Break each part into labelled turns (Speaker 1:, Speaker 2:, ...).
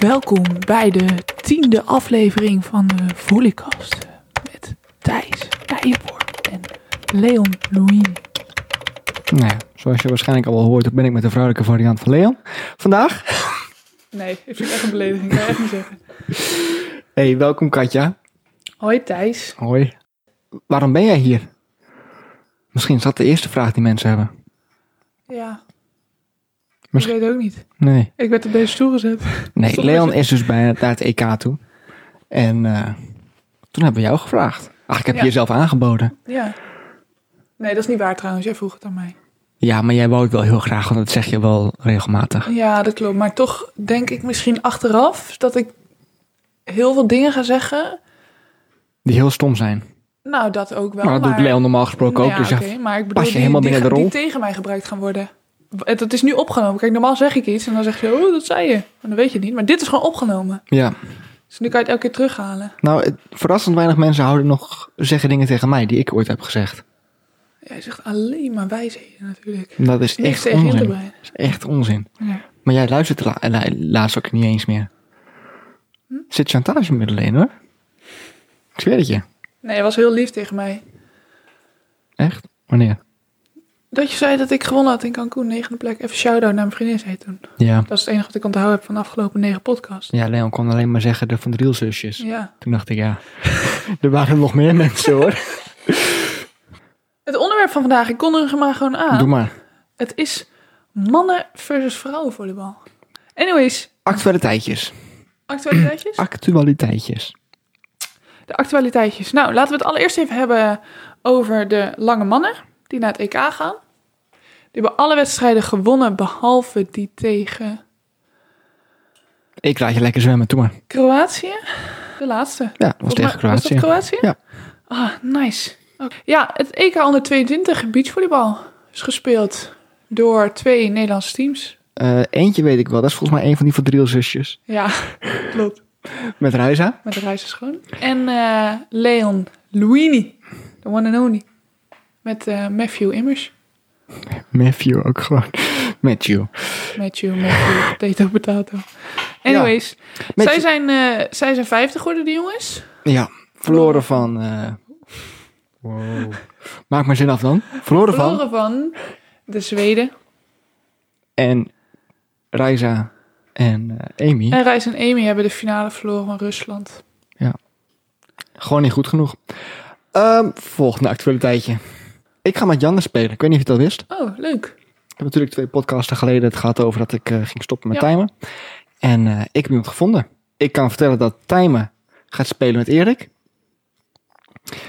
Speaker 1: welkom bij de tiende aflevering van de Volleycast met Thijs Nijenborg en Leon Louis.
Speaker 2: Nou ja, zoals je waarschijnlijk al wel hoort, ben ik met de vrouwelijke variant van Leon. Vandaag.
Speaker 1: Nee, ik vind het echt een belediging, ik kan echt niet zeggen.
Speaker 2: Hey, welkom Katja.
Speaker 1: Hoi Thijs.
Speaker 2: Hoi. Waarom ben jij hier? Misschien is dat de eerste vraag die mensen hebben.
Speaker 1: Ja, ik
Speaker 2: Misschien-
Speaker 1: weet het ook niet.
Speaker 2: Nee.
Speaker 1: Ik werd op deze stoel gezet.
Speaker 2: Nee,
Speaker 1: Stop
Speaker 2: Leon
Speaker 1: met
Speaker 2: is dus bij naar het EK toe. En eh, toen hebben we jou gevraagd. Ach, ik heb
Speaker 1: Ja.
Speaker 2: je zelf aangeboden.
Speaker 1: Ja. Nee, dat is niet waar trouwens, jij vroeg het aan mij.
Speaker 2: Ja, maar jij wou het wel heel graag, want dat zeg je wel regelmatig.
Speaker 1: Ja, dat klopt. Maar toch denk ik misschien achteraf dat ik heel veel dingen ga zeggen.
Speaker 2: Die heel stom zijn.
Speaker 1: Nou, dat ook wel.
Speaker 2: maar dat doet Leon normaal gesproken
Speaker 1: Nou
Speaker 2: ook.
Speaker 1: ja,
Speaker 2: dus ja,
Speaker 1: oké, maar ik bedoel,
Speaker 2: pas je
Speaker 1: die,
Speaker 2: helemaal
Speaker 1: die,
Speaker 2: binnen de
Speaker 1: die
Speaker 2: rol?
Speaker 1: tegen mij gebruikt gaan worden. Het- Dat is nu opgenomen. Kijk, normaal zeg ik iets en dan zeg je, oh, dat zei je. En dan weet je het niet. Maar dit is gewoon opgenomen.
Speaker 2: ja.
Speaker 1: Dus nu kan je het elke keer terughalen.
Speaker 2: Nou, het- verrassend weinig mensen houden nog, zeggen dingen tegen mij die ik ooit heb gezegd.
Speaker 1: Jij zegt alleen maar wijsheden natuurlijk.
Speaker 2: En Dat is
Speaker 1: Niks
Speaker 2: Hm, echt
Speaker 1: tegen in te
Speaker 2: onzin.
Speaker 1: brengen.
Speaker 2: Dat is echt onzin.
Speaker 1: Ja.
Speaker 2: Maar jij luistert la- la- laatst ook niet eens meer.
Speaker 1: Hm?
Speaker 2: Zit chantagemiddelen in hoor. Ik zweer het je.
Speaker 1: Nee, hij was heel lief tegen mij.
Speaker 2: Echt? Wanneer?
Speaker 1: Dat je zei dat ik gewonnen had in Cancun, negende plek. Even shout-out naar mijn vriendin zei toen.
Speaker 2: Ja.
Speaker 1: Dat is het enige wat ik onthouden heb van de afgelopen negen podcasts.
Speaker 2: Ja, Leon kon alleen maar zeggen de Van Drielzusjes.
Speaker 1: Ja.
Speaker 2: Toen dacht ik, ja, er waren nog meer mensen hoor.
Speaker 1: Het onderwerp van vandaag, ik kon er maar gewoon aan.
Speaker 2: Doe maar.
Speaker 1: Het is mannen versus vrouwenvolleybal. Anyways,
Speaker 2: Actualiteitjes.
Speaker 1: actualiteitjes?
Speaker 2: Actualiteitjes.
Speaker 1: De actualiteitjes. Nou, laten we het allereerst even hebben over de lange mannen die naar het EK gaan. Die hebben alle wedstrijden gewonnen, behalve die tegen
Speaker 2: Ik laat je lekker zwemmen, doe maar.
Speaker 1: Kroatië. De laatste.
Speaker 2: Ja, dat was
Speaker 1: Volgens mij-
Speaker 2: tegen
Speaker 1: Was dat
Speaker 2: Kroatië.
Speaker 1: Kroatië?
Speaker 2: Ja.
Speaker 1: Ah, nice. Oké. Ja, het EK onder 22 beachvolleybal is gespeeld door twee Nederlandse teams.
Speaker 2: Eh, eentje weet ik wel, dat is volgens mij een van die Van Drielzusjes.
Speaker 1: Ja, klopt.
Speaker 2: Met Ruiza.
Speaker 1: Met de reis is schoon. En eh, Leon Luini, de one and only. Met eh, Matthew Immers.
Speaker 2: Matthew ook gewoon. Matthew.
Speaker 1: Matthew, Matthew, potato, potato. Anyways, zij,
Speaker 2: Matthew.
Speaker 1: zijn, eh, zij zijn 50 geworden, die jongens.
Speaker 2: Ja, verloren van. eh, Wow. Maak maar zin af dan. Verloren van. Hm?
Speaker 1: Verloren van de Zweden.
Speaker 2: En Reiza en eh, Amy.
Speaker 1: En Reis en Amy hebben de finale verloren van Rusland.
Speaker 2: Gewoon niet goed genoeg. Ehm, volgende actualiteitje. Ik ga met Janne spelen. Ik weet niet of je dat wist.
Speaker 1: Oh, leuk.
Speaker 2: Ik heb natuurlijk twee podcasten geleden het gehad over dat ik eh, ging stoppen met
Speaker 1: Ja.
Speaker 2: timen. En eh, ik heb iemand gevonden. Ik kan vertellen dat timen gaat spelen met Erik.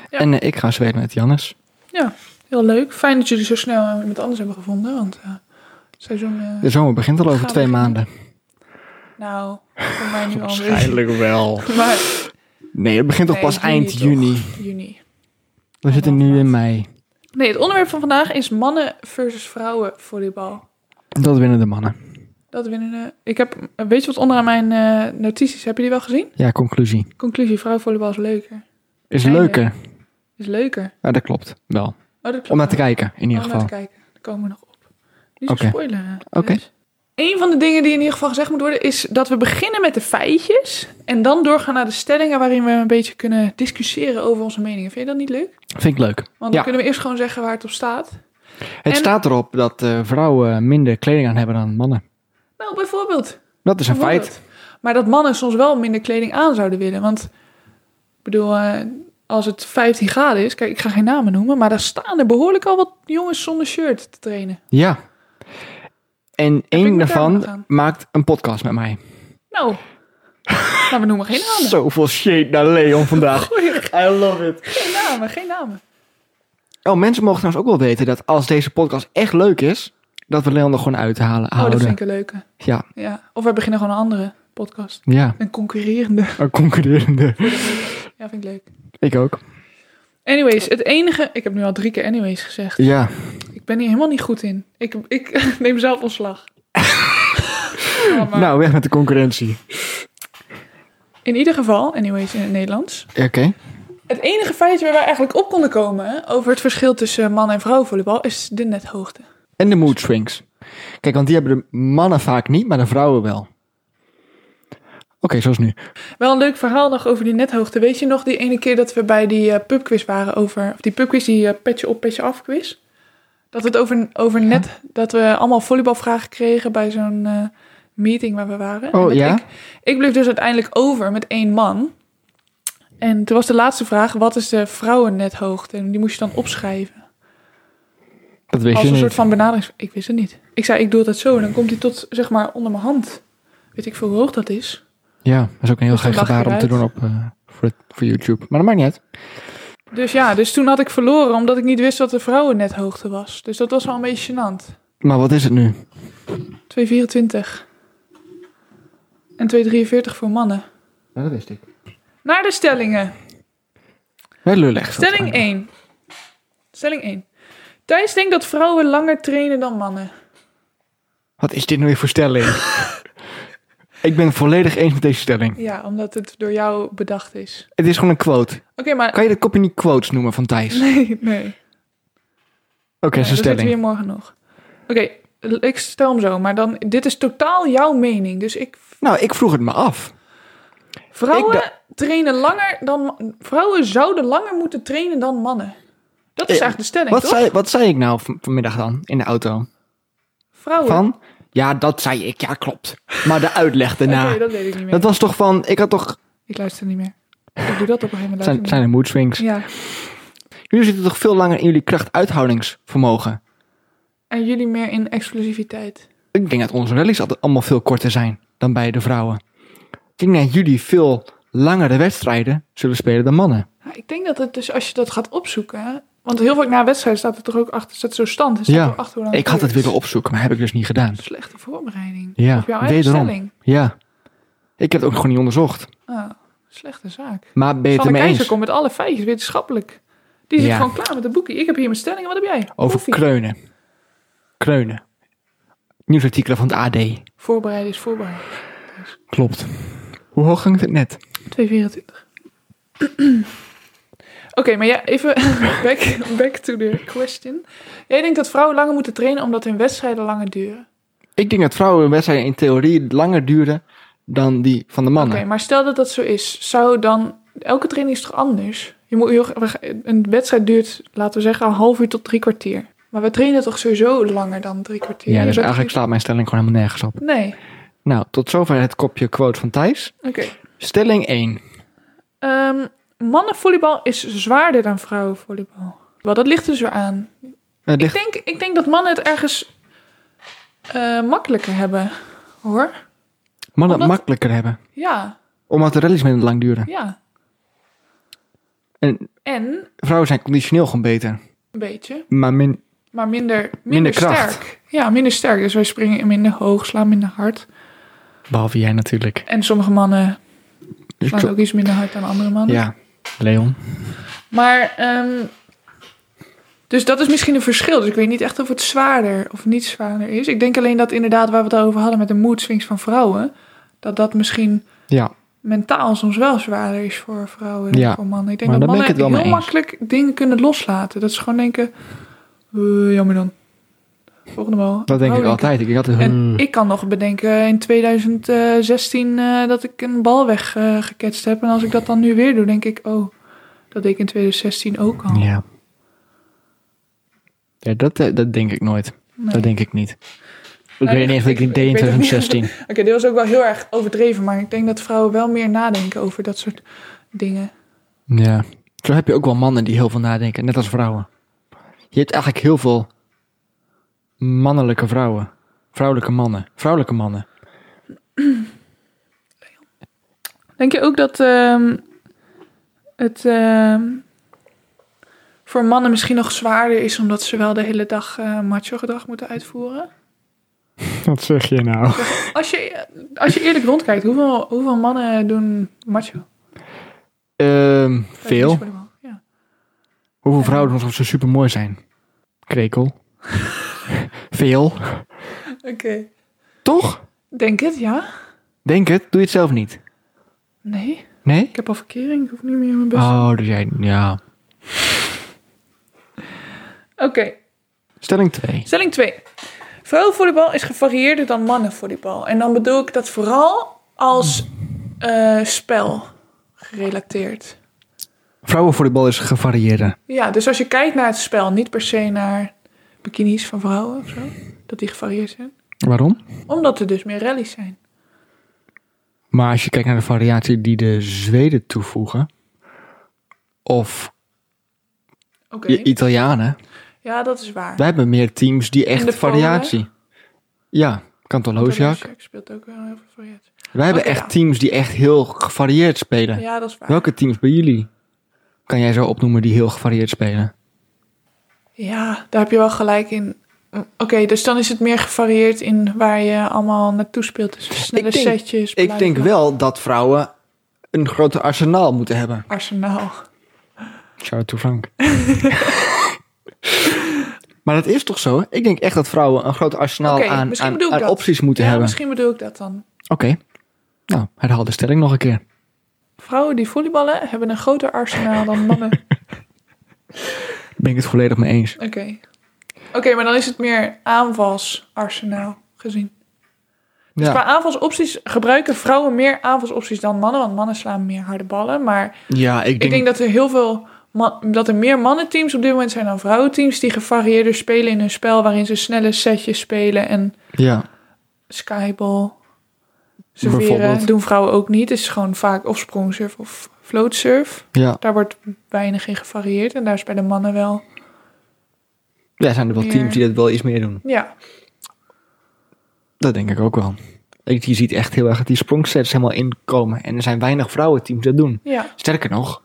Speaker 1: Ja.
Speaker 2: En eh, ik ga spelen met Jannes.
Speaker 1: Heel leuk. Fijn dat jullie zo snel eh, iemand anders hebben gevonden. Want eh, het seizoen... eh,
Speaker 2: De zomer begint al over
Speaker 1: Gaan we
Speaker 2: twee
Speaker 1: beginnen?
Speaker 2: maanden.
Speaker 1: nou, voor mij nu al een beetje.
Speaker 2: Waarschijnlijk wel.
Speaker 1: Maar
Speaker 2: Nee, het begint toch
Speaker 1: Nee,
Speaker 2: pas
Speaker 1: juni
Speaker 2: eind
Speaker 1: toch.
Speaker 2: juni.
Speaker 1: juni.
Speaker 2: We zitten nu in mei.
Speaker 1: Nee, het onderwerp van vandaag is mannen versus vrouwen volleybal.
Speaker 2: Dat winnen de mannen.
Speaker 1: Dat winnen. eh, ik heb, weet je wat onderaan mijn eh, notities? Heb je die wel gezien?
Speaker 2: Ja, conclusie.
Speaker 1: Conclusie: vrouwenvolleybal is leuker.
Speaker 2: Is
Speaker 1: Einde.
Speaker 2: leuker.
Speaker 1: Is leuker.
Speaker 2: Ja, dat klopt. Wel.
Speaker 1: Oh, dat klopt.
Speaker 2: Om naar te kijken, in ieder
Speaker 1: Om naar
Speaker 2: geval.
Speaker 1: te kijken. Daar komen we nog op. Niet zo
Speaker 2: Oké.
Speaker 1: spoileren.
Speaker 2: Oké.
Speaker 1: Een van de dingen die in ieder geval gezegd moet worden is dat we beginnen met de feitjes en dan doorgaan naar de stellingen waarin we een beetje kunnen discussiëren over onze meningen. Vind je dat niet leuk?
Speaker 2: Vind ik leuk.
Speaker 1: Want dan
Speaker 2: Ja.
Speaker 1: kunnen we eerst gewoon zeggen waar het op staat.
Speaker 2: Het
Speaker 1: En-
Speaker 2: staat erop dat eh, vrouwen minder kleding aan hebben dan mannen.
Speaker 1: Nou, bijvoorbeeld.
Speaker 2: Dat is een feit.
Speaker 1: Bijvoorbeeld. Maar dat mannen soms wel minder kleding aan zouden willen. Want, ik bedoel, eh, als het 15 graden is... Kijk, ik ga geen namen noemen... maar daar staan er behoorlijk al wat jongens zonder shirt te trainen.
Speaker 2: Ja. En
Speaker 1: ik
Speaker 2: één
Speaker 1: me
Speaker 2: daarvan
Speaker 1: daarom gaan?
Speaker 2: maakt een podcast met mij.
Speaker 1: Nou, nou we noemen geen namen.
Speaker 2: Zoveel shade naar Leon vandaag.
Speaker 1: Goeie,
Speaker 2: I love it.
Speaker 1: geen namen, geen namen.
Speaker 2: Oh, mensen mogen trouwens ook wel weten dat als deze podcast echt leuk is, dat we Leon er gewoon uithalen.
Speaker 1: Oh, dat
Speaker 2: houden.
Speaker 1: vind ik een leuke.
Speaker 2: Ja,
Speaker 1: Ja. Of we beginnen gewoon een andere podcast.
Speaker 2: ja.
Speaker 1: Een concurrerende.
Speaker 2: Een concurrerende.
Speaker 1: Ja, vind ik leuk.
Speaker 2: ik ook.
Speaker 1: Anyways, het enige... Ik heb nu al drie keer anyways gezegd.
Speaker 2: Ja.
Speaker 1: Ik ben hier helemaal niet goed in. Ik, ik neem zelf ontslag. Ja, maar-
Speaker 2: Nou, weg met de concurrentie.
Speaker 1: In ieder geval, anyways, in het Nederlands.
Speaker 2: Oké.
Speaker 1: Het enige feitje waar wij eigenlijk op konden komen hè, over het verschil tussen man- en vrouwenvolleybal is de nethoogte.
Speaker 2: En de mood swings. Kijk, want die hebben de mannen vaak niet, maar de vrouwen wel. zoals nu.
Speaker 1: Wel een leuk verhaal nog over die nethoogte. Weet je nog die ene keer dat we bij die eh, pubquiz waren over... Of die pubquiz, die eh, petje op, petje af quiz. Dat het over, over net... Dat we allemaal volleybalvragen kregen bij zo'n eh, meeting waar we waren.
Speaker 2: Oh,
Speaker 1: En dat
Speaker 2: ja?
Speaker 1: Ik, ik bleef dus uiteindelijk over met één man. En toen was de laatste vraag, wat is de vrouwennethoogte? En die moest je dan opschrijven.
Speaker 2: Dat weet
Speaker 1: als
Speaker 2: je
Speaker 1: een
Speaker 2: niet.
Speaker 1: soort van benaderings... Ik wist het niet. Ik zei, ik doe dat zo. En dan komt hij tot, zeg maar, onder mijn hand. Weet ik veel hoe hoog dat is.
Speaker 2: Ja, dat is ook een heel
Speaker 1: Dus
Speaker 2: gek
Speaker 1: dan lag je
Speaker 2: gebaar om te
Speaker 1: eruit.
Speaker 2: doen op, eh, voor, het- voor YouTube. Maar dat maakt niet uit.
Speaker 1: Dus ja, dus toen had ik verloren omdat ik niet wist wat de vrouwennethoogte was. Dus dat was wel een beetje gênant.
Speaker 2: Maar wat is het nu?
Speaker 1: 2,24. En 2,43 voor mannen.
Speaker 2: dat wist ik.
Speaker 1: Naar de stellingen.
Speaker 2: Heel lullig.
Speaker 1: Stelling 1. Stelling 1. Thijs denkt dat vrouwen langer trainen dan mannen.
Speaker 2: Wat is dit nou weer voor stelling? ik ben het volledig eens met deze stelling.
Speaker 1: Ja, omdat het door jou bedacht is.
Speaker 2: Het is gewoon een quote.
Speaker 1: Oké, maar...
Speaker 2: Kan je dat kopje niet quotes noemen van Thijs? Oké,
Speaker 1: Nee, nee.
Speaker 2: dat is
Speaker 1: Nee,
Speaker 2: een
Speaker 1: dan zitten we
Speaker 2: stelling.
Speaker 1: hier morgen nog. Oké, ik stel hem zo. Maar dan, dit is totaal jouw mening. Dus ik
Speaker 2: Nou, ik vroeg het me af.
Speaker 1: Vrouwen
Speaker 2: Ik
Speaker 1: trainen langer dan ma- vrouwen zouden langer moeten trainen dan mannen. Dat is
Speaker 2: Eh,
Speaker 1: eigenlijk de stelling,
Speaker 2: Wat
Speaker 1: toch?
Speaker 2: zei, wat zei ik nou van- vanmiddag dan in de auto?
Speaker 1: Vrouwen.
Speaker 2: Van? Ja, dat zei ik. Ja, klopt. Maar de uitleg daarna.
Speaker 1: Oké, dat weet ik niet meer.
Speaker 2: Dat was toch van, ik had toch...
Speaker 1: Ik luister niet meer. Ik doe dat op een gegeven moment.
Speaker 2: Zijn,
Speaker 1: luister
Speaker 2: zijn
Speaker 1: ik
Speaker 2: er mood swings?
Speaker 1: niet meer. Ja.
Speaker 2: Jullie zitten toch veel langer in jullie kracht-uithoudingsvermogen?
Speaker 1: En jullie meer in explosiviteit.
Speaker 2: Ik denk dat onze rallies altijd allemaal veel korter zijn dan bij de vrouwen. Ik denk dat jullie veel langere wedstrijden zullen spelen dan mannen.
Speaker 1: Nou, ik denk dat het dus als je dat gaat opzoeken. hè, Want heel vaak na wedstrijd staat er toch ook achter, staat zo stand. er Staat
Speaker 2: Ja,
Speaker 1: er achter hoe lang
Speaker 2: Ik had het
Speaker 1: duurt.
Speaker 2: willen opzoeken, maar heb ik dus niet gedaan.
Speaker 1: Slechte voorbereiding.
Speaker 2: Ja,
Speaker 1: op jouw eigen
Speaker 2: wederom.
Speaker 1: stelling.
Speaker 2: Ja. Ik heb het ook gewoon niet onderzocht.
Speaker 1: Ah, slechte zaak.
Speaker 2: Maar ben je het
Speaker 1: Sanne
Speaker 2: ermee
Speaker 1: Keizer
Speaker 2: eens?
Speaker 1: komt met alle feitjes wetenschappelijk. Die zit
Speaker 2: Ja.
Speaker 1: gewoon klaar met de boekie. Ik heb hier mijn stellingen. Wat heb jij?
Speaker 2: Over
Speaker 1: Koffie.
Speaker 2: kreunen. Kreunen. Nieuwsartikelen van het AD.
Speaker 1: Voorbereiden is voorbereid.
Speaker 2: Klopt. Hoe hoog ging het net?
Speaker 1: 224. Oké, maar ja, even back, back to the question. Jij denkt dat vrouwen langer moeten trainen omdat hun wedstrijden langer duren.
Speaker 2: Ik denk dat vrouwenwedstrijden in theorie langer duren dan die van de
Speaker 1: Oké,
Speaker 2: mannen.
Speaker 1: maar stel dat dat zo is, zou dan... Elke training is toch anders? Je moet, heel- we gaan- een wedstrijd duurt, laten we zeggen, een half uur tot drie kwartier. Maar we trainen toch sowieso langer dan drie kwartier?
Speaker 2: Ja,
Speaker 1: Je
Speaker 2: dus
Speaker 1: bent-
Speaker 2: eigenlijk slaat mijn stelling gewoon helemaal nergens op.
Speaker 1: Nee,
Speaker 2: Nou, tot zover het kopje quote van Thijs.
Speaker 1: oké.
Speaker 2: Stelling 1.
Speaker 1: Ehm, mannenvolleybal is zwaarder dan vrouwenvolleybal. Wel, dat ligt dus weer aan.
Speaker 2: Het
Speaker 1: Ik
Speaker 2: ligt,
Speaker 1: denk, ik denk dat mannen het ergens eh, makkelijker hebben, hoor.
Speaker 2: mannen
Speaker 1: omdat-
Speaker 2: het makkelijker hebben.
Speaker 1: Ja,
Speaker 2: Omdat de rallies minder lang duren.
Speaker 1: ja.
Speaker 2: En
Speaker 1: En
Speaker 2: vrouwen zijn conditioneel gewoon beter.
Speaker 1: een beetje,
Speaker 2: Maar min,
Speaker 1: maar minder, minder,
Speaker 2: Minder kracht.
Speaker 1: sterk. Ja, minder sterk. Dus wij springen minder hoog, slaan minder hard.
Speaker 2: behalve jij natuurlijk.
Speaker 1: En sommige mannen
Speaker 2: Dus ik
Speaker 1: slaan
Speaker 2: zo-
Speaker 1: ook iets minder hard dan andere mannen.
Speaker 2: ja, Leon.
Speaker 1: Maar, ehm, dus dat is misschien een verschil. Dus ik weet niet echt of het zwaarder of niet zwaarder is. Ik denk alleen dat inderdaad waar we het over hadden met de mood swings van vrouwen, dat dat misschien
Speaker 2: Ja,
Speaker 1: mentaal soms wel zwaarder is voor vrouwen dan
Speaker 2: Ja,
Speaker 1: voor mannen. Ik denk
Speaker 2: maar
Speaker 1: dat
Speaker 2: daar ben ik
Speaker 1: mannen
Speaker 2: het
Speaker 1: heel
Speaker 2: wel mee eens.
Speaker 1: makkelijk dingen kunnen loslaten. Dat ze gewoon denken, "Eh, jammer dan. Volgende wel.
Speaker 2: dat denk
Speaker 1: Oh,
Speaker 2: ik altijd. Hmm. Ik denk altijd...
Speaker 1: En
Speaker 2: "Huh."
Speaker 1: ik kan nog bedenken in 2016 eh, dat ik een bal weggeketst heb. En als ik dat dan nu weer doe, denk ik, oh, dat deed ik in 2016 ook al.
Speaker 2: Ja. Ja, dat, eh, dat denk ik nooit.
Speaker 1: Nee.
Speaker 2: Dat denk ik niet. Ik
Speaker 1: Nou,
Speaker 2: weet niet eens wat ik
Speaker 1: ik-
Speaker 2: dit deed in
Speaker 1: ik weet het niet.
Speaker 2: 2016.
Speaker 1: Oké, dit was ook wel heel erg overdreven. Maar ik denk dat vrouwen wel meer nadenken over dat soort dingen.
Speaker 2: Ja. Zo heb je ook wel mannen die heel veel nadenken, net als vrouwen. Je hebt eigenlijk heel veel mannelijke vrouwen. Vrouwelijke mannen. Vrouwelijke mannen.
Speaker 1: Denk je ook dat ehm, het ehm, voor mannen misschien nog zwaarder is omdat ze wel de hele dag eh, macho gedrag moeten uitvoeren?
Speaker 2: Wat zeg je nou?
Speaker 1: Als je, als je eerlijk rondkijkt, hoeveel, hoeveel mannen doen macho?
Speaker 2: Ehm, veel.
Speaker 1: Ja.
Speaker 2: Hoeveel vrouwen doen alsof ze super mooi zijn? Krekel. veel.
Speaker 1: Oké.
Speaker 2: Toch?
Speaker 1: Denk het, ja?
Speaker 2: Denk het. Doe je het zelf niet.
Speaker 1: Nee.
Speaker 2: Nee?
Speaker 1: Ik heb al verkering, ik hoef niet meer in mijn bus.
Speaker 2: Oh, dus jij... Ja.
Speaker 1: Oké,
Speaker 2: Stelling 2.
Speaker 1: stelling 2. Vrouwenvolleybal is gevarieerder dan mannenvolleybal. En dan bedoel ik dat vooral als eh, spel gerelateerd.
Speaker 2: Vrouwenvolleybal is gevarieerder.
Speaker 1: Ja, dus als je kijkt naar het spel, niet per se naar bikinis van vrouwen of zo, dat die gevarieerd zijn.
Speaker 2: Waarom?
Speaker 1: Omdat er dus meer rallies zijn.
Speaker 2: Maar als je kijkt naar de variatie die de Zweden toevoegen, of
Speaker 1: Oké,
Speaker 2: de Italianen,
Speaker 1: ja, dat is waar.
Speaker 2: wij hebben meer teams die
Speaker 1: En de
Speaker 2: echt
Speaker 1: Polen?
Speaker 2: variatie. Ja, Kantoloosjak.
Speaker 1: Podolczak speelt ook wel heel veel variatie.
Speaker 2: Wij hebben
Speaker 1: Oké,
Speaker 2: echt
Speaker 1: ja.
Speaker 2: teams die echt heel gevarieerd spelen.
Speaker 1: Ja, dat is waar.
Speaker 2: Welke teams bij jullie kan jij zo opnoemen die heel gevarieerd spelen?
Speaker 1: Ja, daar heb je wel gelijk in. Mm, Oké, dus dan is het meer gevarieerd in waar je allemaal naartoe speelt. Dus snelle
Speaker 2: Ik denk-
Speaker 1: setjes.
Speaker 2: Ik denk
Speaker 1: blijven.
Speaker 2: wel dat vrouwen een groter arsenaal moeten hebben.
Speaker 1: Arsenaal.
Speaker 2: Shout out to Frank. maar dat is toch zo? Ik denk echt dat vrouwen een groot arsenaal
Speaker 1: Oké,
Speaker 2: aan,
Speaker 1: misschien
Speaker 2: aan,
Speaker 1: bedoel ik
Speaker 2: aan
Speaker 1: dat.
Speaker 2: opties moeten
Speaker 1: Ja,
Speaker 2: hebben.
Speaker 1: misschien bedoel ik dat dan.
Speaker 2: Oké. Nou, herhaal de stelling nog een keer.
Speaker 1: Vrouwen die volleyballen hebben een groter arsenaal dan mannen.
Speaker 2: Ben ik het volledig mee eens.
Speaker 1: Oké. Oké, maar dan is het meer aanvalsarsenaal gezien. Dus
Speaker 2: Ja.
Speaker 1: qua aanvalsopties gebruiken vrouwen meer aanvalsopties dan mannen. Want mannen slaan meer harde ballen. Maar
Speaker 2: ja, ik
Speaker 1: ik denk dat er heel veel... man- dat er meer mannenteams op dit moment zijn dan vrouwenteams... die gevarieerder spelen in hun spel... waarin ze snelle setjes spelen en
Speaker 2: Ja,
Speaker 1: skyball serveren.
Speaker 2: Bijvoorbeeld.
Speaker 1: Doen vrouwen ook niet. Het is gewoon vaak of sprongsurf of floatsurf.
Speaker 2: ja.
Speaker 1: Daar wordt weinig in gevarieerd. En daar is bij de mannen wel...
Speaker 2: ja, zijn er wel teams die dat wel iets meer doen.
Speaker 1: Ja,
Speaker 2: Dat denk ik ook wel. Ik, je ziet echt heel erg dat die sprongsets helemaal inkomen. En er zijn weinig vrouwenteams die dat doen.
Speaker 1: ja.
Speaker 2: Sterker nog,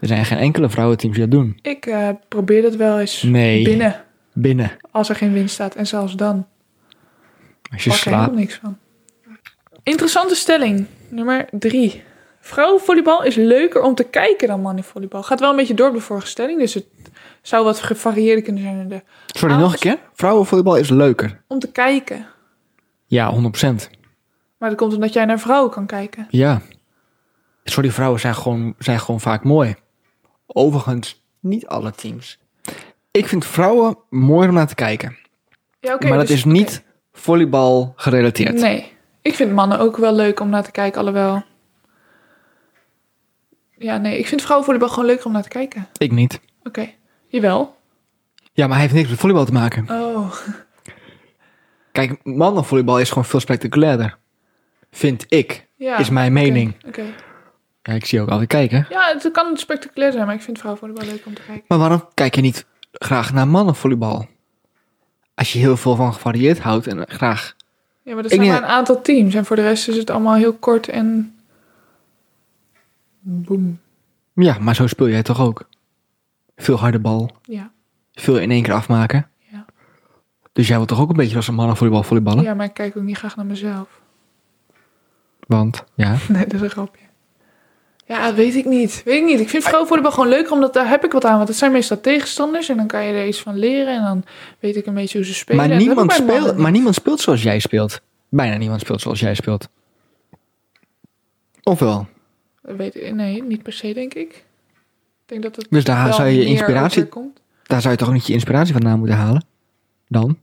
Speaker 2: er zijn geen enkele vrouwenteams die dat doen.
Speaker 1: ik eh, probeer dat wel eens
Speaker 2: Nee.
Speaker 1: binnen...
Speaker 2: Binnen.
Speaker 1: als er geen winst staat. En zelfs dan
Speaker 2: Als je
Speaker 1: pak ik er
Speaker 2: slaapt.
Speaker 1: helemaal niks van. Interessante stelling. Nummer drie. Vrouwenvolleybal is leuker om te kijken dan mannenvolleybal. Gaat wel een beetje door op de vorige stelling. Dus het zou wat gevarieerder kunnen zijn. in de-
Speaker 2: Sorry, nog een keer. Vrouwenvolleybal is leuker.
Speaker 1: Om te kijken.
Speaker 2: Ja, 100%.
Speaker 1: Maar dat komt omdat jij naar vrouwen kan kijken.
Speaker 2: Ja. Sorry, vrouwen zijn gewoon, zijn gewoon vaak mooi. Overigens, niet alle teams. Ik vind vrouwen mooi om naar te kijken.
Speaker 1: Ja, oké.
Speaker 2: maar dat
Speaker 1: dus-
Speaker 2: is niet volleybal gerelateerd.
Speaker 1: oké. Nee. Ik vind mannen ook wel leuk om naar te kijken. Alhoewel. Ja, nee. Ik vind vrouwenvolleybal gewoon leuker om naar te kijken.
Speaker 2: Ik niet.
Speaker 1: Oké. Jawel.
Speaker 2: Ja, maar hij heeft niks met volleybal te maken.
Speaker 1: Oh.
Speaker 2: Kijk, mannenvolleybal is gewoon veel spectaculairder. Vind ik.
Speaker 1: Ja.
Speaker 2: Is mijn
Speaker 1: oké,
Speaker 2: mening.
Speaker 1: Oké.
Speaker 2: Ja, ik zie ook altijd kijken.
Speaker 1: Ja, het kan spectaculair zijn, maar ik vind vrouwenvolleybal leuk om te kijken.
Speaker 2: Maar waarom kijk je niet graag naar mannenvolleybal? Als je heel veel van gevarieerd houdt en graag...
Speaker 1: Ja, maar dat
Speaker 2: Ik
Speaker 1: zijn
Speaker 2: denk-
Speaker 1: maar een aantal teams. En voor de rest is het allemaal heel kort en... Boom.
Speaker 2: Ja, maar zo speel jij toch ook? Veel harde bal.
Speaker 1: Ja.
Speaker 2: veel in één keer afmaken.
Speaker 1: Ja.
Speaker 2: Dus jij wilt toch ook een beetje als een mannenvolleybal volleyballen?
Speaker 1: ja, maar ik kijk ook niet graag naar mezelf.
Speaker 2: Want, ja.
Speaker 1: Nee, dat is een grapje. Ja, dat weet ik niet. Weet ik niet. Ik vind vrouwenvolleybal gewoon leuk, omdat daar heb ik wat aan. Want het zijn meestal tegenstanders en dan kan je er iets van leren. En dan weet ik een beetje hoe ze spelen. En
Speaker 2: Maar
Speaker 1: dat heb
Speaker 2: niemand,
Speaker 1: ik bij mannen
Speaker 2: speelt,
Speaker 1: niet.
Speaker 2: maar niemand speelt zoals jij speelt. Bijna niemand speelt zoals jij speelt. Ofwel.
Speaker 1: Dat Weet ik, nee, niet per se, denk ik. Ik denk dat het
Speaker 2: Dus daar
Speaker 1: wel
Speaker 2: zou je je
Speaker 1: meer
Speaker 2: inspiratie,
Speaker 1: overkomt.
Speaker 2: daar zou je toch niet je inspiratie vandaan moeten halen? Dan?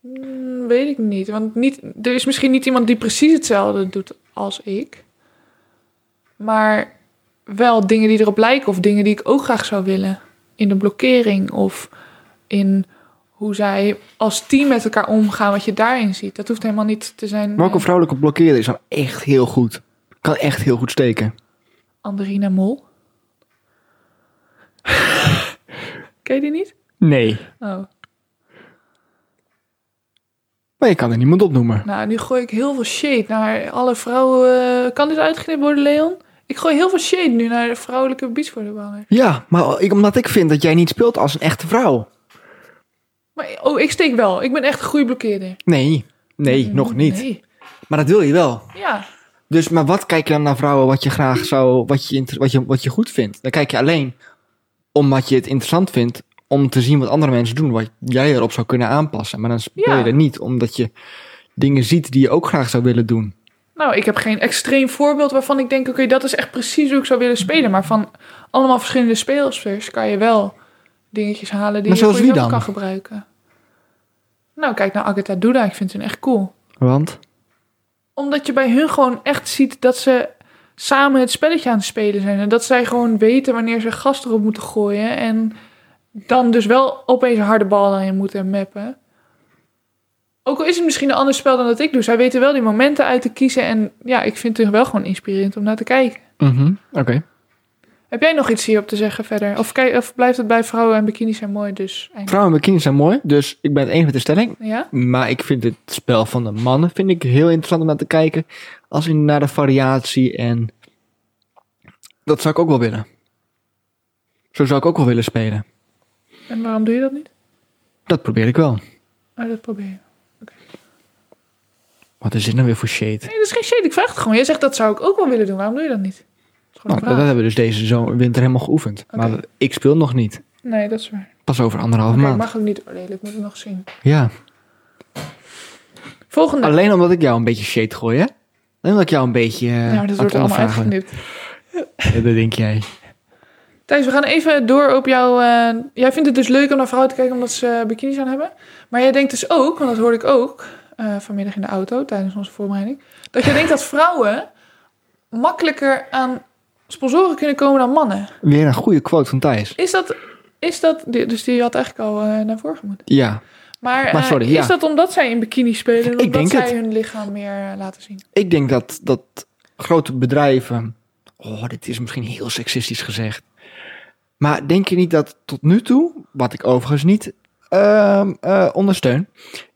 Speaker 1: Mm, Weet ik niet. Want niet, er is misschien niet iemand die precies hetzelfde doet als ik. Maar wel dingen die erop lijken of dingen die ik ook graag zou willen. In de blokkering of in hoe zij als team met elkaar omgaan, wat je daarin ziet. Dat hoeft helemaal niet te zijn.
Speaker 2: Welke
Speaker 1: eh,
Speaker 2: vrouwelijke blokkeerder is dan echt heel goed? Kan echt heel goed steken.
Speaker 1: Anderina Mol. Ken je die niet?
Speaker 2: Nee.
Speaker 1: Oh.
Speaker 2: Maar je kan er niemand opnoemen.
Speaker 1: Nou, nu gooi ik heel veel shade naar alle vrouwen. eh, Kan dit uitgeknipt worden, Leon? Ik gooi heel veel shade nu naar de vrouwelijke beachvolleyballer.
Speaker 2: Ja, maar ik, omdat ik vind dat jij niet speelt als een echte vrouw.
Speaker 1: Maar oh, ik steek wel. Ik ben echt een goede blokkeerder.
Speaker 2: Nee. Nee, nog niet.
Speaker 1: Nee.
Speaker 2: Maar dat wil je wel.
Speaker 1: Ja.
Speaker 2: Dus, maar wat kijk je dan naar vrouwen wat je graag zou, wat je, inter- wat je, wat je goed vindt? Dan kijk je alleen omdat je het interessant vindt om te zien wat andere mensen doen, wat jij erop zou kunnen aanpassen. Maar dan speel je
Speaker 1: Ja.
Speaker 2: er niet omdat je dingen ziet die je ook graag zou willen doen.
Speaker 1: Nou, ik heb geen extreem voorbeeld waarvan ik denk... oké, dat is echt precies hoe ik zou willen spelen. Maar van allemaal verschillende speelsters kan je wel dingetjes halen... die
Speaker 2: Maar
Speaker 1: je
Speaker 2: zoals
Speaker 1: voor
Speaker 2: wie
Speaker 1: jezelf
Speaker 2: dan?
Speaker 1: kan gebruiken. Nou, kijk naar Agatha Duda. Ik vind hun echt cool.
Speaker 2: Want?
Speaker 1: Omdat je bij hun gewoon echt ziet dat ze samen het spelletje aan het spelen zijn. En dat zij gewoon weten wanneer ze gas erop moeten gooien. En dan dus wel opeens een harde bal naar je moeten mappen. Ook al is het misschien een ander spel dan dat ik doe. Zij weten wel die momenten uit te kiezen. En ja, ik vind het wel gewoon inspirerend om naar te kijken.
Speaker 2: Mhm, Oké.
Speaker 1: Heb jij nog iets hierop te zeggen verder? Of, kijk, of blijft het bij vrouwen en bikinis zijn mooi dus? eigenlijk?
Speaker 2: Vrouwen en bikinis zijn mooi, dus ik ben het eens met de stelling.
Speaker 1: Ja?
Speaker 2: Maar ik vind het spel van de mannen vind ik heel interessant om naar te kijken. Als in naar de variatie en... Dat zou ik ook wel willen. Zo zou ik ook wel willen spelen.
Speaker 1: En waarom doe je dat niet?
Speaker 2: Dat probeer ik wel.
Speaker 1: Oh, dat probeer je.
Speaker 2: Wat is dit nou weer voor shade?
Speaker 1: Nee, dat is geen shit. Ik vraag het gewoon. Jij zegt dat zou ik ook wel willen doen. Waarom doe je dat niet? Dat is gewoon
Speaker 2: Nou,
Speaker 1: een
Speaker 2: dat, dat
Speaker 1: vraag.
Speaker 2: hebben we dus deze zomer, winter helemaal geoefend.
Speaker 1: Oké.
Speaker 2: Maar ik speel nog niet.
Speaker 1: Nee, dat is waar.
Speaker 2: Pas over anderhalf
Speaker 1: Oké,
Speaker 2: maand.
Speaker 1: mag ook niet oordelen. Ik moet het nog zien.
Speaker 2: Ja.
Speaker 1: Volgende.
Speaker 2: Alleen omdat ik jou een beetje shade gooi, hè? Alleen omdat ik jou een beetje eh,
Speaker 1: nou,
Speaker 2: aan
Speaker 1: dat
Speaker 2: het
Speaker 1: wordt allemaal
Speaker 2: ondervragen ben.
Speaker 1: uitgeknipt.
Speaker 2: Ja, dat denk jij.
Speaker 1: Thijs, we gaan even door op jouw... eh, jij vindt het dus leuk om naar vrouwen te kijken omdat ze eh, bikinis aan hebben. Maar jij denkt dus ook, want dat hoorde ik ook eh, vanmiddag in de auto tijdens onze voorbereiding... dat jij denkt dat vrouwen makkelijker aan sponsoren kunnen komen dan mannen.
Speaker 2: Weer een goede quote van Thijs.
Speaker 1: Is dat... Is dat die- dus die had eigenlijk al eh, naar voren moeten.
Speaker 2: Ja,
Speaker 1: Maar, eh,
Speaker 2: Maar sorry, ja.
Speaker 1: is dat omdat zij in bikini spelen? En
Speaker 2: Ik
Speaker 1: omdat
Speaker 2: denk
Speaker 1: zij
Speaker 2: het.
Speaker 1: hun lichaam meer eh, laten zien?
Speaker 2: ik denk dat, dat grote bedrijven... Oh, dit is misschien heel seksistisch gezegd. Maar denk je niet dat tot nu toe, wat ik overigens niet ehm, eh, ondersteun...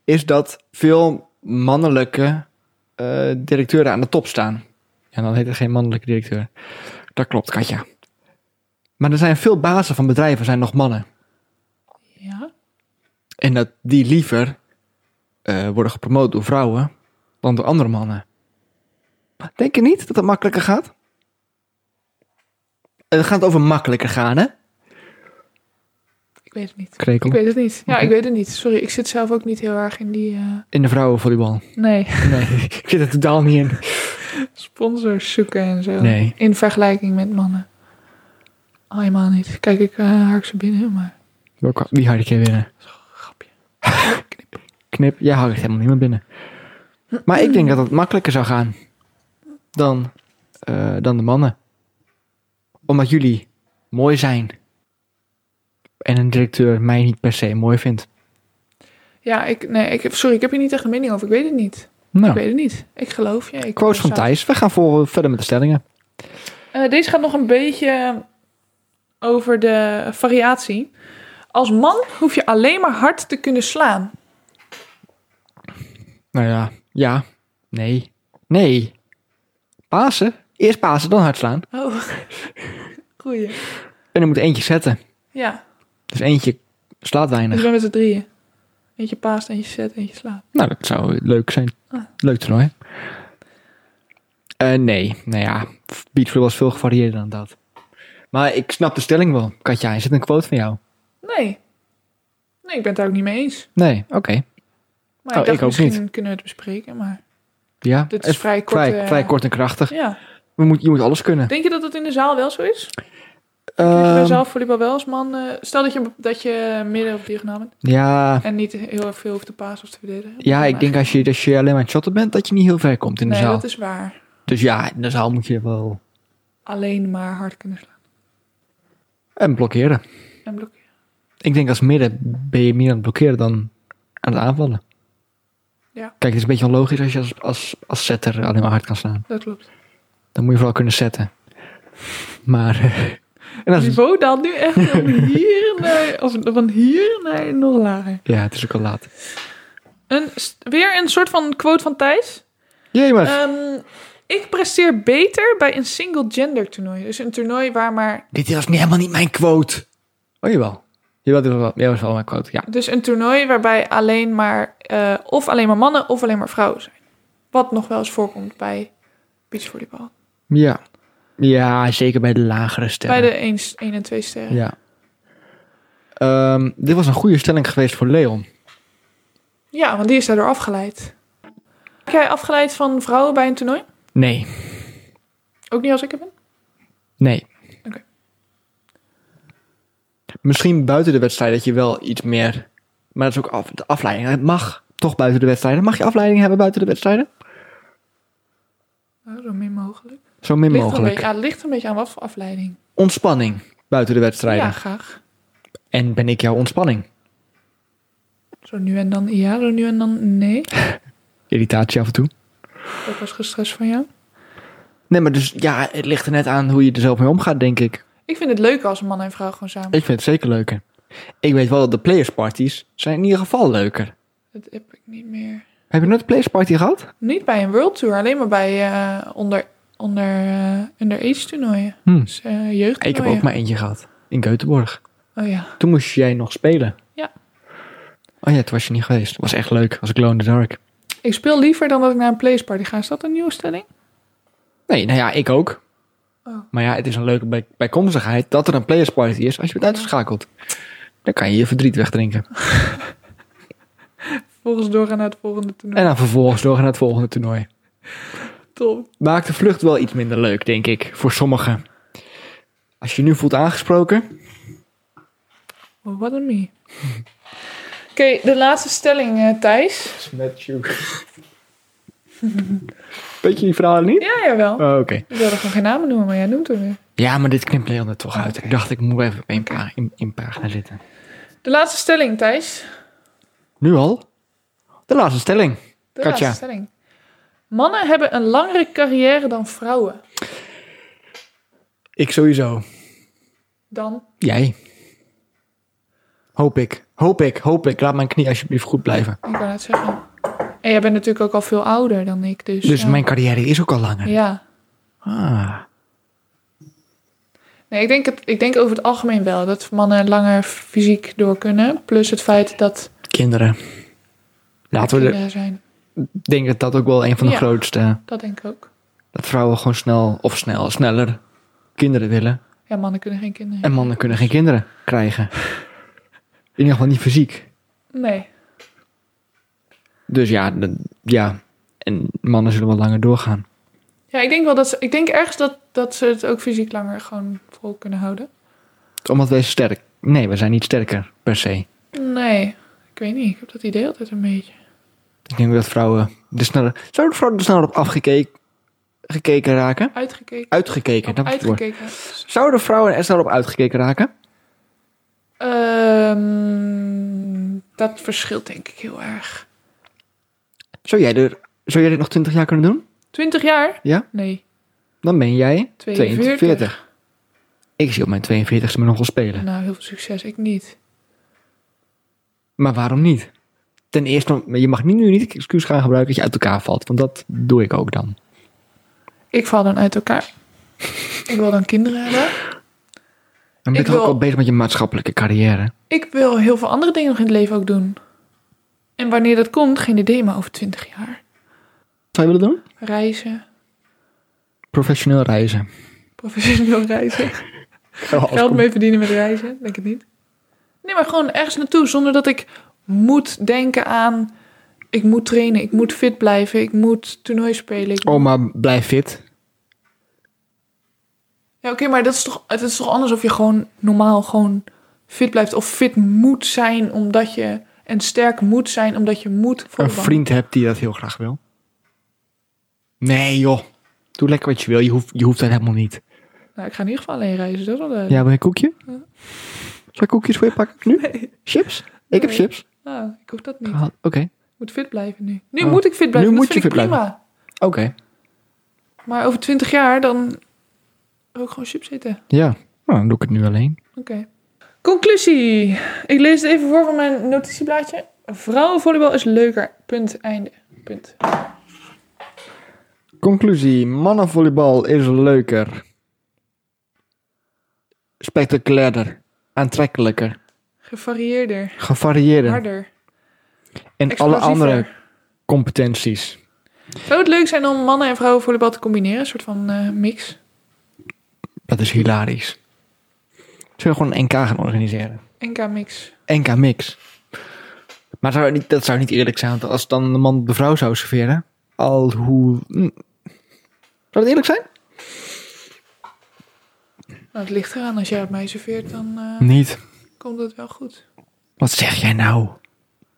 Speaker 2: is dat veel mannelijke eh, directeuren aan de top staan. En dan heet het geen mannelijke directeur. Dat klopt, Katja. Maar er zijn veel bazen van bedrijven zijn nog mannen.
Speaker 1: Ja.
Speaker 2: En dat die liever eh, worden gepromoot door vrouwen dan door andere mannen. Denk je niet dat het makkelijker gaat? Eh, Het gaat over makkelijker gaan, hè?
Speaker 1: Ik weet het niet. Ik
Speaker 2: Krekel.
Speaker 1: weet het niet. Ja,
Speaker 2: Oké.
Speaker 1: ik weet het niet. Sorry, ik zit zelf ook niet heel erg in die... eh,
Speaker 2: In de vrouwenvolleybal.
Speaker 1: Nee.
Speaker 2: Nee, ik zit er totaal niet in.
Speaker 1: sponsors zoeken en zo.
Speaker 2: Nee.
Speaker 1: In vergelijking met mannen. Al helemaal niet. Kijk, ik eh haak ze binnen, maar
Speaker 2: Welke- Wie had ik hier binnen?
Speaker 1: grapje.
Speaker 2: Knip, jij houdt helemaal niet meer binnen. Maar ik denk dat het makkelijker zou gaan dan, eh, dan de mannen. Omdat jullie mooi zijn. En een directeur mij niet per se mooi vindt.
Speaker 1: Ja, ik, nee, ik, heb- sorry, ik heb hier niet echt een mening over. Ik weet het niet.
Speaker 2: Nou.
Speaker 1: Ik weet het niet. Ik geloof je. Ik
Speaker 2: Quotes van Thijs. We gaan voor, verder met de stellingen.
Speaker 1: Eh, deze gaat nog een beetje over de variatie. Als man hoef je alleen maar hard te kunnen slaan.
Speaker 2: Nou ja, ja, nee, nee. Pasen. Eerst pasen, dan hard slaan.
Speaker 1: Oh, goeie.
Speaker 2: En er moet eentje zetten.
Speaker 1: Ja,
Speaker 2: Dus eentje slaat
Speaker 1: dus
Speaker 2: weinig.
Speaker 1: we zijn met z'n drieën. Eentje paast, eentje zet, eentje slaat.
Speaker 2: Nou, dat zou leuk zijn.
Speaker 1: Ah.
Speaker 2: Leuk toernooi. Eh nee, nou ja, beachvolley was veel gevarieerder dan dat. Maar ik snap de stelling wel. Katja, is het een quote van jou?
Speaker 1: Nee. Nee, ik ben het daar ook niet mee eens.
Speaker 2: Nee, oké.
Speaker 1: Maar
Speaker 2: Oh,
Speaker 1: ik dacht,
Speaker 2: ik ook
Speaker 1: misschien kunnen we het bespreken, maar...
Speaker 2: Ja,
Speaker 1: Dit is
Speaker 2: het
Speaker 1: vrij kort,
Speaker 2: Vrij,
Speaker 1: eh,
Speaker 2: vrij kort en krachtig.
Speaker 1: Ja.
Speaker 2: We moet, je moet alles kunnen.
Speaker 1: Denk je dat dat in de zaal wel zo is? Kijk je bij
Speaker 2: Ehm,
Speaker 1: zaalvolleybal wel als man... eh, stel dat je, dat je midden of diagonaal bent
Speaker 2: ja,
Speaker 1: en niet heel erg veel hoeft te pasen of te verdedigen.
Speaker 2: ja, ik denk als je, als je alleen maar aan het shotten bent, dat je niet heel ver komt in de
Speaker 1: Nee,
Speaker 2: zaal.
Speaker 1: dat is waar.
Speaker 2: Dus ja, in de zaal moet je wel...
Speaker 1: Alleen maar hard kunnen slaan
Speaker 2: En blokkeren.
Speaker 1: en blokkeren.
Speaker 2: Ik denk als midden ben je meer aan het blokkeren dan aan het aanvallen.
Speaker 1: Ja.
Speaker 2: Kijk, het is een beetje onlogisch als je als, als, als setter alleen maar hard kan slaan.
Speaker 1: Dat klopt.
Speaker 2: Dan moet je vooral kunnen zetten. Maar... eh, en
Speaker 1: Het
Speaker 2: als,
Speaker 1: niveau daalt nu echt van hier naar... Of van hier naar nog lager.
Speaker 2: ja, het is ook al laat.
Speaker 1: Een, st- weer een soort van quote van Thijs.
Speaker 2: Jee, maar...
Speaker 1: Ehm, ik presteer beter bij een single gender toernooi. Dus een toernooi waar maar
Speaker 2: dit was niet, helemaal niet mijn quote. Oh, jawel. Jawel, dit was wel, jawel, was wel mijn quote, ja.
Speaker 1: Dus een toernooi waarbij alleen maar, eh, of alleen maar mannen of alleen maar vrouwen zijn. Wat nog wel eens voorkomt bij beachvolleybal.
Speaker 2: Ja. Ja, zeker bij de lagere sterren.
Speaker 1: Bij de 1, en 2 sterren. Ja.
Speaker 2: Ja. Ehm, dit was een goede stelling geweest voor Leon.
Speaker 1: want die is daardoor afgeleid. Ben jij afgeleid van vrouwen bij een toernooi?
Speaker 2: Nee.
Speaker 1: Ook niet als ik er ben?
Speaker 2: Nee.
Speaker 1: Oké.
Speaker 2: Misschien buiten de wedstrijd dat je wel iets meer. Maar dat is ook af, de afleiding. Het mag. toch buiten de wedstrijden. Mag je afleiding hebben buiten de wedstrijden?
Speaker 1: Nou, zo min mogelijk.
Speaker 2: Zo min
Speaker 1: Ligt er Een
Speaker 2: mogelijk.
Speaker 1: beetje, ja, het ligt een beetje aan wat voor afleiding.
Speaker 2: Ontspanning buiten de wedstrijden.
Speaker 1: Ja, graag.
Speaker 2: En ben ik jouw ontspanning?
Speaker 1: Zo nu en dan ja, zo nu en dan nee.
Speaker 2: Irritatie af en toe.
Speaker 1: Dat was gestrest van jou.
Speaker 2: Nee, maar dus ja, het ligt er net aan hoe je er zelf mee omgaat, denk ik.
Speaker 1: Ik vind het leuk als een man en vrouw gewoon samen.
Speaker 2: Ik vind het zeker leuker. Ik weet wel dat de playersparties zijn in ieder geval leuker.
Speaker 1: Dat heb ik niet meer.
Speaker 2: Heb je nooit een playersparty gehad?
Speaker 1: Niet bij een World Tour, alleen maar bij eh, onder, onder, eh, underage toernooien.
Speaker 2: Hm.
Speaker 1: Dus eh jeugd.
Speaker 2: Ik heb ook maar eentje gehad. In Göteborg.
Speaker 1: Oh ja.
Speaker 2: Toen moest jij nog spelen.
Speaker 1: Ja.
Speaker 2: Oh ja, toen was je niet geweest. was echt leuk. Als ik Glow in the Dark.
Speaker 1: Ik speel liever dan dat ik naar een playsparty ga. Is dat een nieuwe stelling?
Speaker 2: Nee, nou ja, ik ook.
Speaker 1: Oh.
Speaker 2: Maar ja, het is een leuke bij- bijkomstigheid dat er een playersparty is als je bent uitgeschakeld. Dan kan je je verdriet wegdrinken.
Speaker 1: Volgens doorgaan naar het volgende toernooi.
Speaker 2: En dan vervolgens doorgaan naar het volgende toernooi. Eh.
Speaker 1: Top.
Speaker 2: maakt de vlucht wel iets minder leuk, denk ik, voor sommigen. Als je je nu voelt aangesproken,
Speaker 1: Well, what a me. Oké, de laatste stelling, eh, Thijs.
Speaker 2: is met you. Weet je die verhalen niet?
Speaker 1: Ja, jawel.
Speaker 2: Oh, Oké.
Speaker 1: Ik wilde gewoon geen namen noemen, maar jij noemt hem weer.
Speaker 2: Ja, maar dit knipt Leon er toch uit. Ik dacht, ik moet even op één pa- in, in pagina zitten.
Speaker 1: De laatste stelling, Thijs.
Speaker 2: Nu al? De laatste stelling.
Speaker 1: De
Speaker 2: Katja.
Speaker 1: laatste stelling. Mannen hebben een langere carrière dan vrouwen.
Speaker 2: Ik sowieso.
Speaker 1: Dan
Speaker 2: Jij. Hoop ik. Hoop ik, hoop ik. Laat mijn knie alsjeblieft goed blijven.
Speaker 1: Ik kan het zeggen. En jij bent natuurlijk ook al veel ouder dan ik, dus...
Speaker 2: Dus
Speaker 1: ja.
Speaker 2: mijn carrière is ook al langer.
Speaker 1: Ja.
Speaker 2: Ah.
Speaker 1: Nee, ik denk, het, ik denk over het algemeen wel dat mannen langer fysiek door kunnen. Plus het feit dat
Speaker 2: Kinderen. Laten we de,
Speaker 1: kinderen zijn.
Speaker 2: ik denk dat dat ook wel een van de
Speaker 1: Ja.
Speaker 2: grootste
Speaker 1: Dat denk ik ook.
Speaker 2: Dat vrouwen gewoon snel, of snel, sneller kinderen willen.
Speaker 1: Ja, mannen kunnen geen kinderen.
Speaker 2: En mannen kunnen geen kinderen krijgen. In ieder geval niet fysiek.
Speaker 1: Nee.
Speaker 2: Dus ja, de- ja. En mannen zullen wel langer doorgaan.
Speaker 1: Ja, ik denk wel dat ze... Ik denk ergens dat, dat ze het ook fysiek langer gewoon vol kunnen houden.
Speaker 2: Omdat wij sterk... Nee, we zijn niet sterker, per se.
Speaker 1: Nee. Ik weet niet. Ik heb dat idee altijd een beetje.
Speaker 2: Ik denk dat vrouwen er sneller... Zouden vrouwen er sneller op afgekeken gekeken raken?
Speaker 1: Uitgekeken.
Speaker 2: Uitgekeken,
Speaker 1: Op
Speaker 2: dat was het woord.
Speaker 1: uitgekeken.
Speaker 2: Zouden vrouwen er sneller op uitgekeken raken?
Speaker 1: Ehm, dat verschilt denk ik heel erg.
Speaker 2: Zou jij, er, zou jij dit nog 20 jaar kunnen doen?
Speaker 1: 20 jaar?
Speaker 2: Ja?
Speaker 1: Nee.
Speaker 2: Dan ben jij
Speaker 1: 42.
Speaker 2: 42. Ik zie op mijn 42ste me nog wel spelen.
Speaker 1: Nou, heel veel succes. Ik niet.
Speaker 2: Maar waarom niet? Ten eerste, maar je mag niet, nu niet het excuus gaan gebruiken dat je uit elkaar valt. Want dat doe ik ook dan.
Speaker 1: Ik val dan uit elkaar. ik wil dan kinderen hebben.
Speaker 2: Dan ben je
Speaker 1: Ik
Speaker 2: toch ook
Speaker 1: wil-
Speaker 2: al bezig met je maatschappelijke carrière.
Speaker 1: Ik wil heel veel andere dingen nog in het leven ook doen. En wanneer dat komt, geen idee, maar over 20 jaar.
Speaker 2: Zou je willen doen?
Speaker 1: Reizen,
Speaker 2: Professioneel reizen.
Speaker 1: professioneel reizen. Geld mee verdienen met reizen, denk ik niet. Nee, maar gewoon ergens naartoe zonder dat ik moet denken aan... Ik moet trainen, ik moet fit blijven, ik moet toernooi spelen. ik
Speaker 2: Oh, maar blijf fit.
Speaker 1: Ja, oké, maar dat is, toch, het is toch anders of je gewoon normaal gewoon fit blijft. Of fit moet zijn omdat je... En sterk moet zijn omdat je moet
Speaker 2: Een
Speaker 1: voetballen.
Speaker 2: vriend hebt die dat heel graag wil. Nee joh. Doe lekker wat je wil. Je hoeft, je hoeft dat helemaal niet.
Speaker 1: Nou, ik ga in ieder geval alleen reizen. Dat is wel duidelijk.
Speaker 2: Ja, wil je een koekje?
Speaker 1: Ja.
Speaker 2: Zal ik koekjes voor je pakken? Nu? Chips? Ik heb
Speaker 1: Nee.
Speaker 2: chips.
Speaker 1: Ah, ik hoef dat niet.
Speaker 2: Gehaald. Oké.
Speaker 1: Ik moet fit blijven nu. Nu
Speaker 2: Ah.
Speaker 1: moet ik fit blijven.
Speaker 2: Nu
Speaker 1: dat
Speaker 2: moet je
Speaker 1: vind ik
Speaker 2: fit
Speaker 1: prima.
Speaker 2: Oké.
Speaker 1: Maar over 20 jaar dan wil ik gewoon chips zitten.
Speaker 2: Ja. Nou, dan doe ik het nu alleen.
Speaker 1: Oké. Conclusie. Ik lees het even voor van mijn notitieblaadje. Vrouwenvolleybal is leuker. Punt. Einde. Punt.
Speaker 2: Conclusie: mannenvolleybal is leuker, spectaculairder, aantrekkelijker,
Speaker 1: Gevarieerder.
Speaker 2: gevarieerder
Speaker 1: Harder.
Speaker 2: en alle
Speaker 1: explosiever.
Speaker 2: andere competenties.
Speaker 1: Zou het leuk zijn om mannen- en vrouwenvolleybal te combineren? Een soort van eh, mix.
Speaker 2: Dat is hilarisch. Zullen we gewoon een NK gaan organiseren?
Speaker 1: NK-mix.
Speaker 2: NK mix. Maar zou het niet, dat zou niet eerlijk zijn, want als dan de man de vrouw zou serveren, al hoe. hm. Zou dat eerlijk zijn?
Speaker 1: Nou, het ligt eraan.
Speaker 2: Hm.
Speaker 1: Als jij op mij serveert, dan eh,
Speaker 2: Niet.
Speaker 1: komt het wel goed.
Speaker 2: Wat zeg jij nou?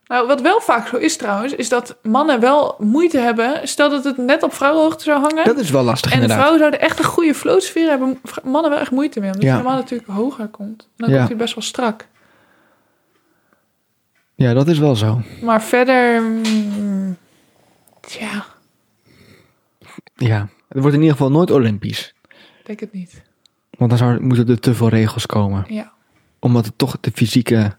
Speaker 1: Nou, wat wel vaak zo is trouwens, is dat mannen wel moeite hebben. Stel dat het net op vrouwenhoogte zou hangen.
Speaker 2: Dat is wel lastig,
Speaker 1: en de
Speaker 2: inderdaad.
Speaker 1: vrouwen zouden echt een goede floatsfeer hebben. v- Mannen wel echt moeite mee. Omdat
Speaker 2: Ja.
Speaker 1: de man natuurlijk hoger komt. En dan
Speaker 2: Ja.
Speaker 1: komt hij best wel strak.
Speaker 2: Ja, dat is wel zo.
Speaker 1: Maar verder... mm, tja,
Speaker 2: Ja. Het wordt in ieder geval nooit Olympisch.
Speaker 1: ik denk het niet.
Speaker 2: Want dan zou, moeten er te veel regels komen.
Speaker 1: Ja.
Speaker 2: Omdat het toch de fysieke...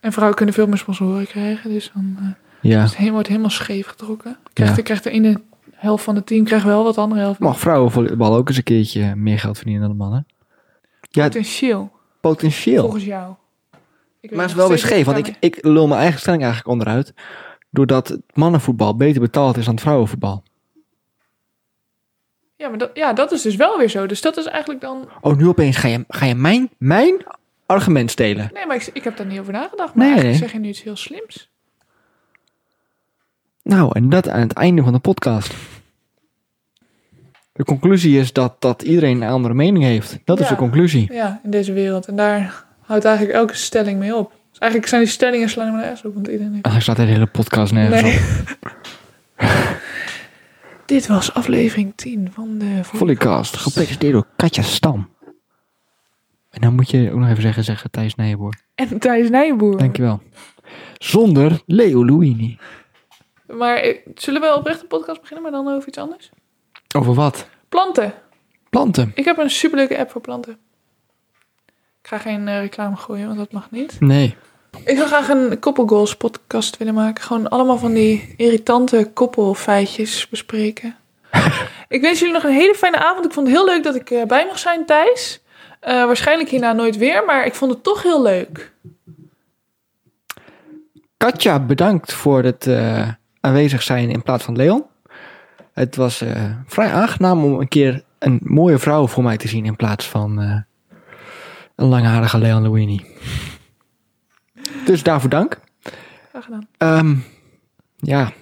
Speaker 1: En vrouwen kunnen veel meer sponsoren krijgen. Dus dan eh,
Speaker 2: Ja.
Speaker 1: is het he- wordt helemaal scheef getrokken. Krijgt,
Speaker 2: Ja.
Speaker 1: de- krijgt de ene helft van het team krijgt wel wat de andere helft.
Speaker 2: Mag vrouwenvolleybal ook eens een keertje meer geld verdienen dan de mannen? Ja,
Speaker 1: Potentieel,
Speaker 2: potentieel.
Speaker 1: volgens jou. Ik weet
Speaker 2: Maar het is
Speaker 1: nog
Speaker 2: wel weer
Speaker 1: steeds
Speaker 2: scheef,
Speaker 1: niet
Speaker 2: want ik,
Speaker 1: waar
Speaker 2: ik lul mijn eigen stelling eigenlijk onderuit. Doordat het mannenvoetbal beter betaald is dan het vrouwenvoetbal.
Speaker 1: mijn- Ja, maar dat, ja, dat is dus wel weer zo. Dus dat is eigenlijk dan...
Speaker 2: Oh, nu opeens ga je, ga je mijn, mijn argument stelen.
Speaker 1: Nee, maar ik, ik heb daar niet over nagedacht. Maar
Speaker 2: Nee.
Speaker 1: eigenlijk zeg je nu iets heel slims.
Speaker 2: Nou, en dat aan het einde van de podcast. De conclusie is dat, dat iedereen een andere mening heeft. Dat is
Speaker 1: Ja.
Speaker 2: de conclusie.
Speaker 1: Ja, in deze wereld. En daar houdt eigenlijk elke stelling mee op. Dus eigenlijk zijn die stellingen slaan maar nergens op. Want iedereen heeft...
Speaker 2: Anders staat Ah, de hele podcast nergens op.
Speaker 1: Dit was aflevering 10 van de
Speaker 2: Volleycast, gepresenteerd door Katja Stam. En dan moet je ook nog even zeggen, zeggen Thijs Nijenboer.
Speaker 1: En Thijs Nijboer.
Speaker 2: Dankjewel. Zonder Leo Luini.
Speaker 1: Maar eh, zullen we oprecht een podcast beginnen, maar dan over iets anders?
Speaker 2: Over wat?
Speaker 1: Planten.
Speaker 2: Planten.
Speaker 1: Ik heb een superleuke app voor planten. Ik ga geen eh, reclame gooien, want dat mag niet.
Speaker 2: Nee.
Speaker 1: Ik zou graag een koppelgoals podcast willen maken. Gewoon allemaal van die irritante koppelfeitjes bespreken. ik wens jullie nog een hele fijne avond. Ik vond het heel leuk dat ik eh, bij mocht zijn, Thijs. Eh, waarschijnlijk hierna nooit weer, maar ik vond het toch heel leuk.
Speaker 2: Katja, bedankt voor het eh, aanwezig zijn in plaats van Leon. Het was eh, vrij aangenaam om een keer een mooie vrouw voor mij te zien in plaats van eh, een langharige Leon Luini. Dus daarvoor dank.
Speaker 1: Graag gedaan.
Speaker 2: Ehm, ja,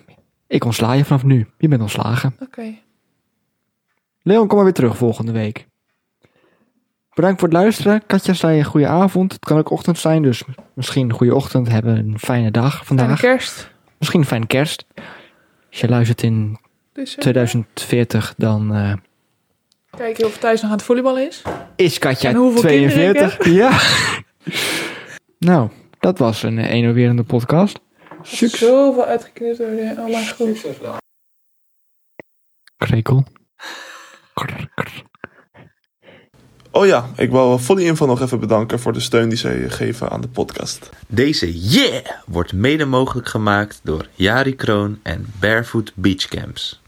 Speaker 2: ik ontsla je vanaf nu. Je bent ontslagen.
Speaker 1: Oké.
Speaker 2: Leon, kom maar weer terug volgende week. Bedankt voor het luisteren. Katja zei een goede avond. Het kan ook ochtend zijn, dus misschien een goede ochtend. Hebben een fijne dag
Speaker 1: Fijne
Speaker 2: vandaag.
Speaker 1: kerst.
Speaker 2: Misschien een fijne kerst. Als je luistert in
Speaker 1: Dus, eh,
Speaker 2: 2040, dan eh,
Speaker 1: Kijken of Thijs nog aan het volleyballen is.
Speaker 2: is Katja
Speaker 1: En hoeveel
Speaker 2: 42. Ja. nou, dat was een eh, enerverende podcast. Succes.
Speaker 1: Zoveel uitgeknipt worden. Oh mijn god.
Speaker 2: Krekel. Krr, krr.
Speaker 3: Oh ja, ik wou Volley Info nog even bedanken voor de steun die zij geven aan de podcast.
Speaker 4: Deze yeah wordt mede mogelijk gemaakt door Jari Kroon en Barefoot Beach Camps.